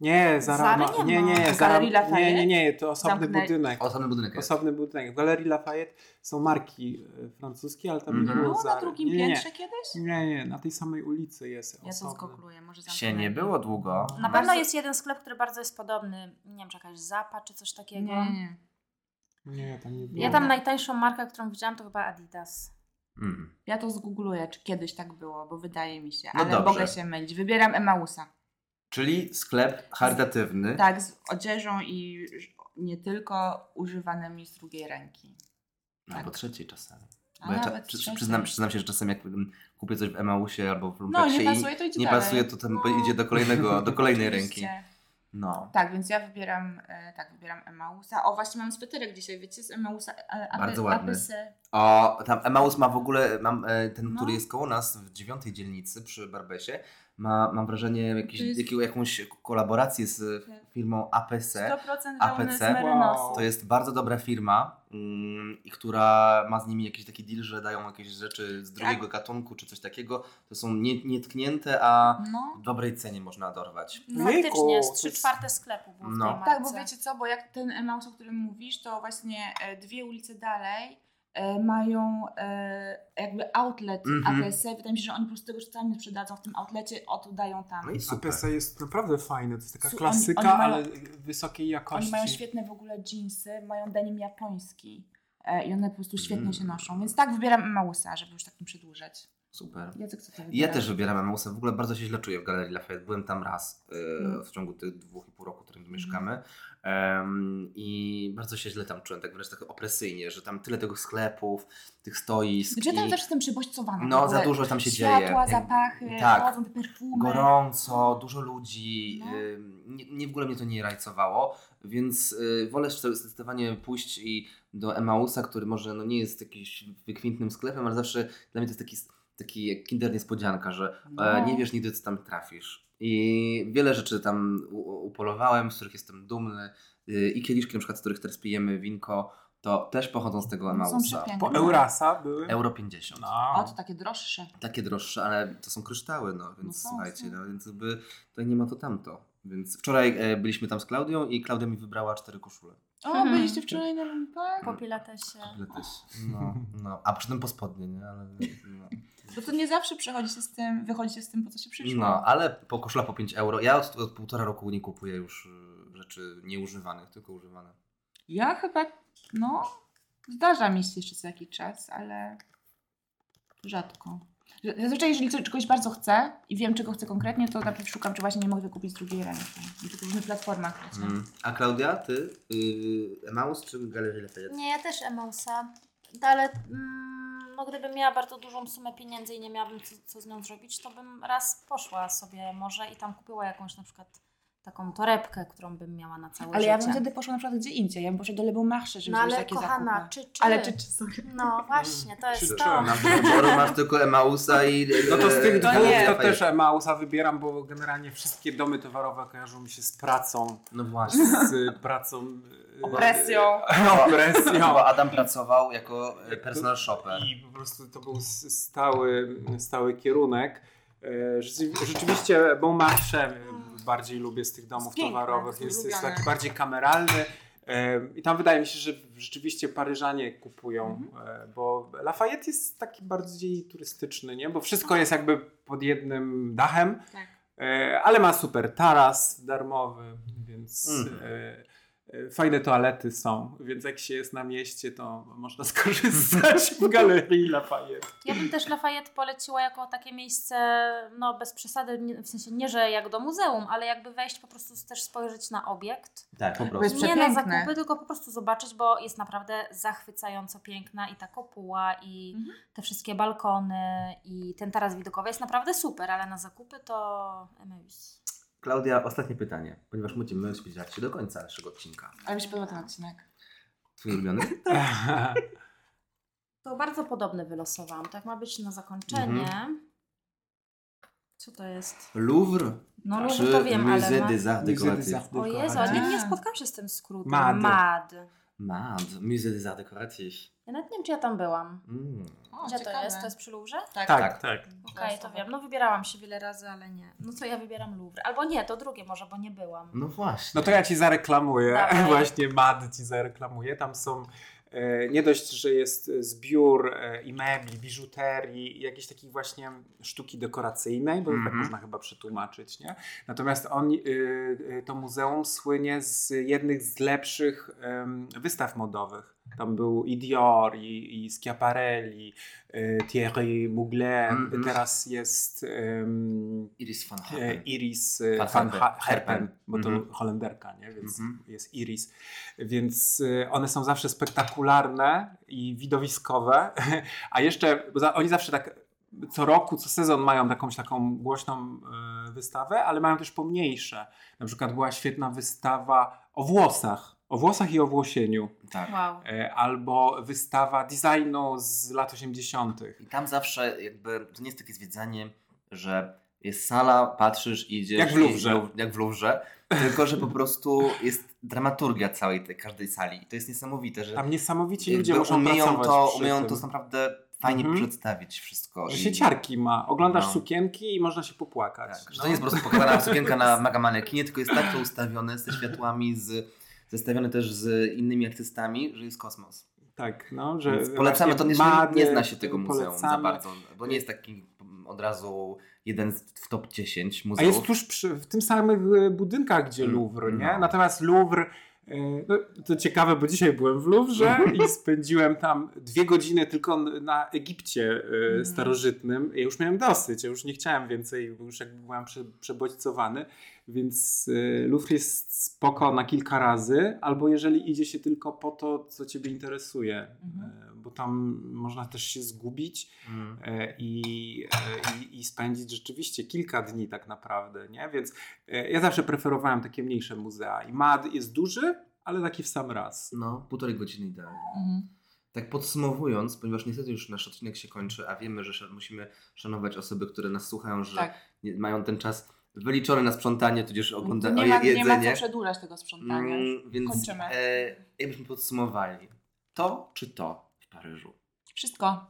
D: Nie, Zara
C: Zary
D: ma...
C: nie
D: Nie,
C: ma.
D: nie,
A: A
D: Zara...
A: Galerii
D: nie,
A: Lafayette?
D: nie, nie, to osobny
A: Zamknę-
D: budynek.
B: Osobny budynek jest.
D: Osobny budynek. W Galerii Lafayette są marki e, francuskie, ale tam
B: Mhm.
D: nie było
A: Było
D: Zary.
A: No, na drugim
D: nie, nie, nie.
A: piętrze kiedyś?
D: Nie, nie, na tej samej ulicy jest
A: Ja to
D: osobny.
A: skokluję, może
B: Się nie było długo.
C: Na
A: Bardzo-
C: pewno jest jeden sklep, który bardzo jest podobny, nie wiem, czy jakaś Zapa, czy coś takiego.
A: Nie,
D: Nie, tam nie było.
C: Ja tam najtańszą markę, którą widziałam, to chyba Adidas.
B: Mm.
A: ja to zgoogluję, czy kiedyś tak było, bo wydaje mi się,
B: No
A: ale
B: dobrze.
A: mogę się mylić. Wybieram Emausa.
B: Czyli sklep charytatywny.
A: Tak, z odzieżą i ż- nie tylko używanymi z drugiej ręki.
B: Albo
A: tak.
B: No, trzeciej czasami.
A: A
B: Bo ja cza-
A: nawet
B: przy,
A: trzeciej.
B: przyznam, przyznam się, że czasem jak mm, kupię coś w Emausie albo w
A: No,
B: Lumpeksie
A: nie
B: i
A: pasuje, to idzie
B: nie
A: dalej.
B: pasuje, to ten
A: No.
B: idzie do kolejnego, do kolejnej ręki.
A: Oczywiście.
B: No.
A: Tak, więc ja wybieram, e, tak, wybieram Emausa. O, właśnie mam sweterek dzisiaj, wiecie, z Emausa. e, apy-
B: Bardzo ładny.
A: apysy.
B: O, tam Emaus ma w ogóle, mam e, ten,
A: No.
B: który jest koło nas w dziewiątej dzielnicy przy Barbesie, ma, mam wrażenie jakiś,
A: To jest-
B: jakiego, jakąś kolaborację z firmą APC.
A: 100%
B: APC?
A: wełny z merynosu.
D: Wow.
B: To jest bardzo dobra firma, mm, i która ma z nimi jakiś taki deal, że dają jakieś rzeczy z drugiego
A: Tak.
B: gatunku czy coś takiego. To są nie- nietknięte, a
A: No.
B: w dobrej cenie można dorwać.
C: No,
D: Jejku,
C: faktycznie,
D: to
C: z trzy
D: jest-
C: czwarte sklepu było w
B: No.
C: tej marce.
A: Tak, bo wiecie co, bo jak ten Emaus, o którym mówisz, to właśnie e, dwie ulice dalej e, mają e, jakby outlet
B: Mhm.
A: APS. Wydaje mi się, że oni po prostu tego czasami sprzedadzą w tym outlecie, oddają tam.
B: No i super.
D: APS jest naprawdę fajny, to jest taka
A: Su- oni-
D: klasyka,
A: oni mają-
D: ale wysokiej jakości.
A: Oni mają świetne w ogóle jeansy, mają denim japoński e, i one po prostu
B: Mm.
A: świetnie się noszą. Więc tak, wybieram Emausa, żeby już tak nie przedłużać.
B: Super.
A: Jacek, co ty wybierasz?
B: Ja też wybieram Emausa. W ogóle bardzo się źle czuję w Galerii Lafayette. Byłem tam raz e,
A: Mhm.
B: w ciągu tych dwóch i pół roku, w którym tu mieszkamy. Em, I bardzo się źle tam czułem, tak wręcz tak opresyjnie, że tam tyle tych sklepów, tych stoisk.
A: Znaczy ja tam
B: i-
A: też jestem przebodźcowana.
B: No, za dużo tam się
A: Światła,
B: dzieje.
A: Światła,
B: Jakby-
A: zapachy,
B: tak.
A: chodzą te perfumy.
B: Gorąco, dużo ludzi.
A: No.
B: ym, Nie, nie w ogóle mnie to nie rajcowało, więc y, wolę zde- zdecydowanie pójść i do Emausa, który może no, nie jest jakimś wykwintnym sklepem, ale zawsze dla mnie to jest taki, taki jak kinder niespodzianka, że e,
A: No.
B: nie wiesz nigdy, co tam trafisz. I wiele rzeczy tam u- upolowałem, z których jestem dumny. y, I kieliszki, na przykład, z których teraz pijemy winko, to też pochodzą z tego
A: Są
B: Emausa.
A: przepiękne.
D: Po Eurasa były?
B: Euro 50
A: O,
D: No.
A: to tak. takie droższe.
B: takie droższe, ale to są kryształy, no więc
A: No są,
B: słuchajcie,
A: są.
B: no więc jakby tutaj nie ma to tamto. Więc wczoraj e, byliśmy tam z Klaudią i Klaudia mi wybrała cztery koszule.
A: O,
C: Mhm.
B: Hmm.
A: byliście wczoraj na lumpach?
C: Po pilatesie.
B: Tyle też. No, no. A przy tym po spodnie, nie? Ale, no.
A: Bo to nie zawsze przychodzi się z tym, wychodzi się z tym, po co się przyszło.
B: no, ale po koszula po 5 euro. Ja od, od półtora roku nie e, kupuję już y, rzeczy nieużywanych, tylko używane.
A: Ja chyba, no, Zdarza mi się jeszcze co jakiś czas, ale rzadko. Zazwyczaj, jeżeli coś- czegoś bardzo chcę i wiem, czego chcę konkretnie, to najpierw szukam, czy właśnie nie mogę wykupić z drugiej ręki. I to w różnych platformach. wiecie.
B: Mm. A Klaudia, ty? Yy, Emaus czy Galerii Lafayette?
C: Nie, ja też Emausa. Ale mm, no, gdybym miała bardzo dużą sumę pieniędzy i nie miałabym co, co z nią zrobić, to bym raz poszła sobie może i tam kupiła jakąś na przykład taką torebkę, którą bym miała na całe
A: Ale
C: życie.
A: ja bym wtedy poszła na przykład gdzie indziej. Ja bym poszła do Lebaumarsze, żeby
C: No
A: zrobić
C: ale
A: takie
C: kochana,
A: zakupy.
C: czy, czy
A: Ale czy, czy Mm. sorry.
C: No właśnie, to
D: Czy-
C: jest
D: czy
C: to.
D: ona-
B: Wyboru masz tylko Emausa i...
D: No to z tych
B: e,
D: dwóch
B: Galerii
D: to
B: Lafayette.
D: też Emausa wybieram, bo generalnie wszystkie domy towarowe kojarzą mi się z pracą,
B: No właśnie.
D: z y, pracą... y,
A: Opresją.
D: Opresją.
B: Bo Adam pracował jako e, personal shopper.
D: I po prostu to był s- stały, stały kierunek. E, rzeczy- Rzeczywiście Beaumarchais bardziej lubię z tych domów
A: Piękne,
D: towarowych.
A: są
D: Jest, jest
A: ulubione.
D: tak bardziej kameralny. E, I tam wydaje mi się, że rzeczywiście Paryżanie kupują,
B: Mhm.
D: e, bo Lafayette jest taki bardziej turystyczny, nie? bo wszystko jest jakby pod jednym dachem,
A: Tak.
D: e, ale ma super taras darmowy, więc
B: Mhm.
D: e, E, Fajne toalety są, więc jak się jest na mieście, to można skorzystać w galerii Lafayette.
C: Ja bym też Lafayette poleciła jako takie miejsce, no bez przesady, nie- w sensie nie, że jak do muzeum, ale jakby wejść po prostu też spojrzeć na obiekt.
B: Tak, po
A: prostu. Jest
C: nie na
A: przepiękne.
C: zakupy, tylko po prostu zobaczyć, bo jest naprawdę zachwycająco piękna i ta kopuła i
A: Mhm.
C: te wszystkie balkony i ten taras widokowy jest naprawdę super, ale na zakupy to Emeus.
B: Klaudia, ostatnie pytanie, ponieważ musimy zbliżać się do końca naszego odcinka.
A: Ale mi się podoba ten odcinek.
B: Twój ulubiony? Tak.
C: To bardzo podobne wylosowałam, tak ma być na zakończenie. Co to jest?
B: Louvre
C: No Louvre
B: czy
C: to wiem, ale no.
B: Musée
C: ma...
B: des Arts
D: Musée Tak. des
B: Décoratifs?
D: Arts.
C: O Jezu, a
D: Dekoracji.
C: nie, nie spotkałam się z tym skrótem.
D: Mad.
C: Mad.
B: Mad, Musée des Arts Décoratifs.
C: Ja nawet nie wiem, czy ja tam byłam.
B: Mm.
A: O,
C: Gdzie
A: ciekawe.
C: to jest? To jest przy Louvre?
A: Tak.
B: Tak.
D: tak.
C: Okej, to wiem. No wybierałam się wiele razy, ale nie. No to ja wybieram Louvre. Albo nie, to drugie może, bo nie byłam.
B: No właśnie.
D: No to ja ci zareklamuję,
C: Dawaj.
D: właśnie Mad ci zareklamuję. Tam są, e, nie dość, że jest e, zbiór e, i mebli, biżuterii, i jakiejś takiej właśnie sztuki dekoracyjnej, bo
B: Mhm.
D: tak można chyba przetłumaczyć, nie? Natomiast on, y, y, to muzeum słynie z jednych z lepszych em, wystaw modowych. Tam był i Dior, i, i Schiaparelli, y, Thierry Mugler,
B: Mhm.
D: teraz jest... em,
B: Iris van
D: E,
B: Hoppen.
D: Iris e,
B: Van
D: van
B: Herpen.
D: Ha- Herpen,
B: Herpen.
D: bo to
B: Mhm.
D: Holenderka, nie? więc
B: Mhm.
D: jest Iris. Więc e, one są zawsze spektakularne i widowiskowe, a jeszcze bo za, oni zawsze tak co roku, co sezon mają jakąś taką głośną e, wystawę, ale mają też pomniejsze. Na przykład była świetna wystawa o włosach, o włosach i o włosieniu,
B: Tak.
C: Wow.
D: e, albo wystawa designu z lat 80.
B: I tam zawsze jakby, to nie jest takie zwiedzanie, że jest sala, patrzysz, idziesz.
D: Jak w Louvre.
B: i- lub- Jak w Louvre. Tylko, że po prostu jest dramaturgia całej tej, każdej sali. I to jest niesamowite, że
D: Tam niesamowici
B: jakby
D: ludzie muszą
B: umieją,
D: pracować
B: to,
D: przy
B: umieją
D: tym.
B: to naprawdę fajnie
D: Mhm.
B: przedstawić wszystko.
D: Że
B: I-
D: sieciarki ma. Oglądasz
B: No.
D: sukienki i można się popłakać.
B: Tak, że
D: No.
B: to nie jest po prostu pokazana sukienka na mega manekinie, tylko jest tak to ustawione ze światłami, z, zestawione też z innymi artystami, że jest kosmos.
D: tak, no, że
B: Więc polecamy, to nie,
D: właśnie Mady,
B: nie zna się tego muzeum za
D: polecamy.
B: bardzo, bo nie jest taki od razu jeden z- w top 10
D: A
B: muzeów.
D: jest tuż przy, w tym samych e, budynkach, gdzie
B: Mm,
D: Louvre, nie?
B: no.
D: Natomiast Louvre, e, no, to ciekawe, bo dzisiaj byłem w Louvre i spędziłem tam dwie godziny tylko n- na Egipcie e,
A: Mm.
D: starożytnym. Ja już miałem dosyć, ja już nie chciałem więcej, bo już jakby byłem prze, przebodźcowany. Więc e, Louvre jest spoko na kilka razy, albo jeżeli idzie się tylko po to, co ciebie interesuje,
A: Mhm.
D: e, bo tam można też się zgubić
B: Mm.
D: e, i, e, i, i spędzić rzeczywiście kilka dni tak naprawdę, nie? Więc e, ja zawsze preferowałem takie mniejsze muzea i MAD jest duży, ale taki w sam raz.
B: No, półtorej godziny idealnie.
A: Mhm.
B: Tak podsumowując, ponieważ niestety już nasz odcinek się kończy, a wiemy, że sz- musimy szanować osoby, które nas słuchają, że
A: Tak.
B: nie, mają ten czas wyliczony na sprzątanie, tudzież ogląda-
A: nie, ma,
B: je-
A: nie ma
B: jedzenie.
A: co przedłużać tego sprzątania.
B: Mm, więc
A: Kończymy.
B: E, jakbyśmy podsumowali, to czy to w Paryżu?
A: Wszystko.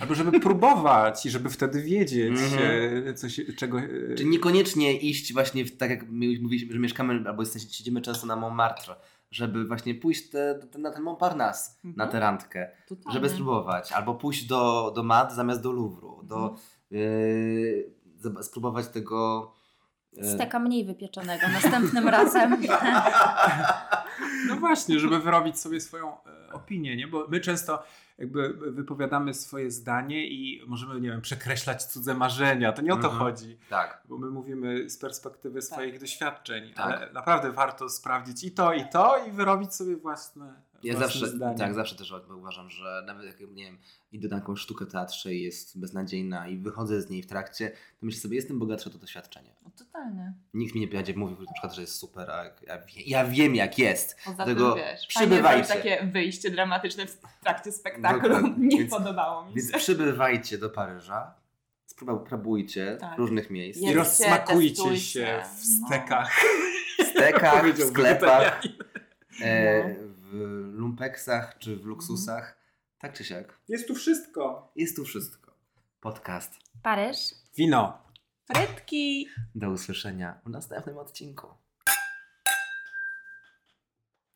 D: Albo żeby próbować i żeby wtedy wiedzieć,
B: Mhm.
D: e, co się, czego... e,
B: Czy niekoniecznie iść właśnie, w, tak jak my już mówiliśmy, że mieszkamy albo jesteśmy, siedzimy często na Montmartre, żeby właśnie pójść te, te, na ten Montparnasse,
A: Mhm.
B: na tę randkę,
A: Totalnie.
B: żeby spróbować. Albo pójść do, do Mad zamiast do Louvru, do,
A: Mhm.
B: e, zob- spróbować tego
C: Steka mniej wypieczonego następnym razem.
D: No właśnie, żeby wyrobić sobie swoją e, opinię, nie? Bo my często jakby wypowiadamy swoje zdanie i możemy, nie wiem, przekreślać cudze marzenia. To nie o to
B: Mhm.
D: chodzi,
B: Tak.
D: bo my mówimy z perspektywy swoich doświadczeń,
B: Tak.
D: ale naprawdę warto sprawdzić i to, i to i wyrobić sobie własne,
B: Ja
D: własne
B: zawsze,
D: zdanie.
B: tak, zawsze też uważam, że nawet jak, nie wiem, idę na jakąś sztukę teatrze i jest beznadziejna i wychodzę z niej w trakcie, to myślę sobie, jestem bogatszy o to doświadczenie.
A: No, totalnie.
B: Nikt mi nie będzie mówił na przykład, że jest super, a jak- ja, wie, ja wiem jak jest.
A: Poza
B: Dlatego
A: tym wiesz,
B: przybywajcie.
A: fajnie było takie wyjście dramatyczne w trakcie spektaklu.
B: Dokładnie.
A: Nie
B: Więc-
A: podobało mi
B: Więc
A: się.
B: przybywajcie do Paryża, spróbujcie
A: Tak.
B: różnych miejsc,
D: I
A: Jedzcie,
D: rozsmakujcie
A: testujcie.
D: się w
A: No.
D: stekach,
B: w stekach, w
D: powiedziałbym, tak.
B: sklepach,
D: Italianin.
B: e, w lumpeksach czy w luksusach. Tak czy siak,
D: Jest tu wszystko.
B: jest tu wszystko. Podcast.
C: Paryż
D: Wino.
A: Frytki!
B: Do usłyszenia w następnym odcinku.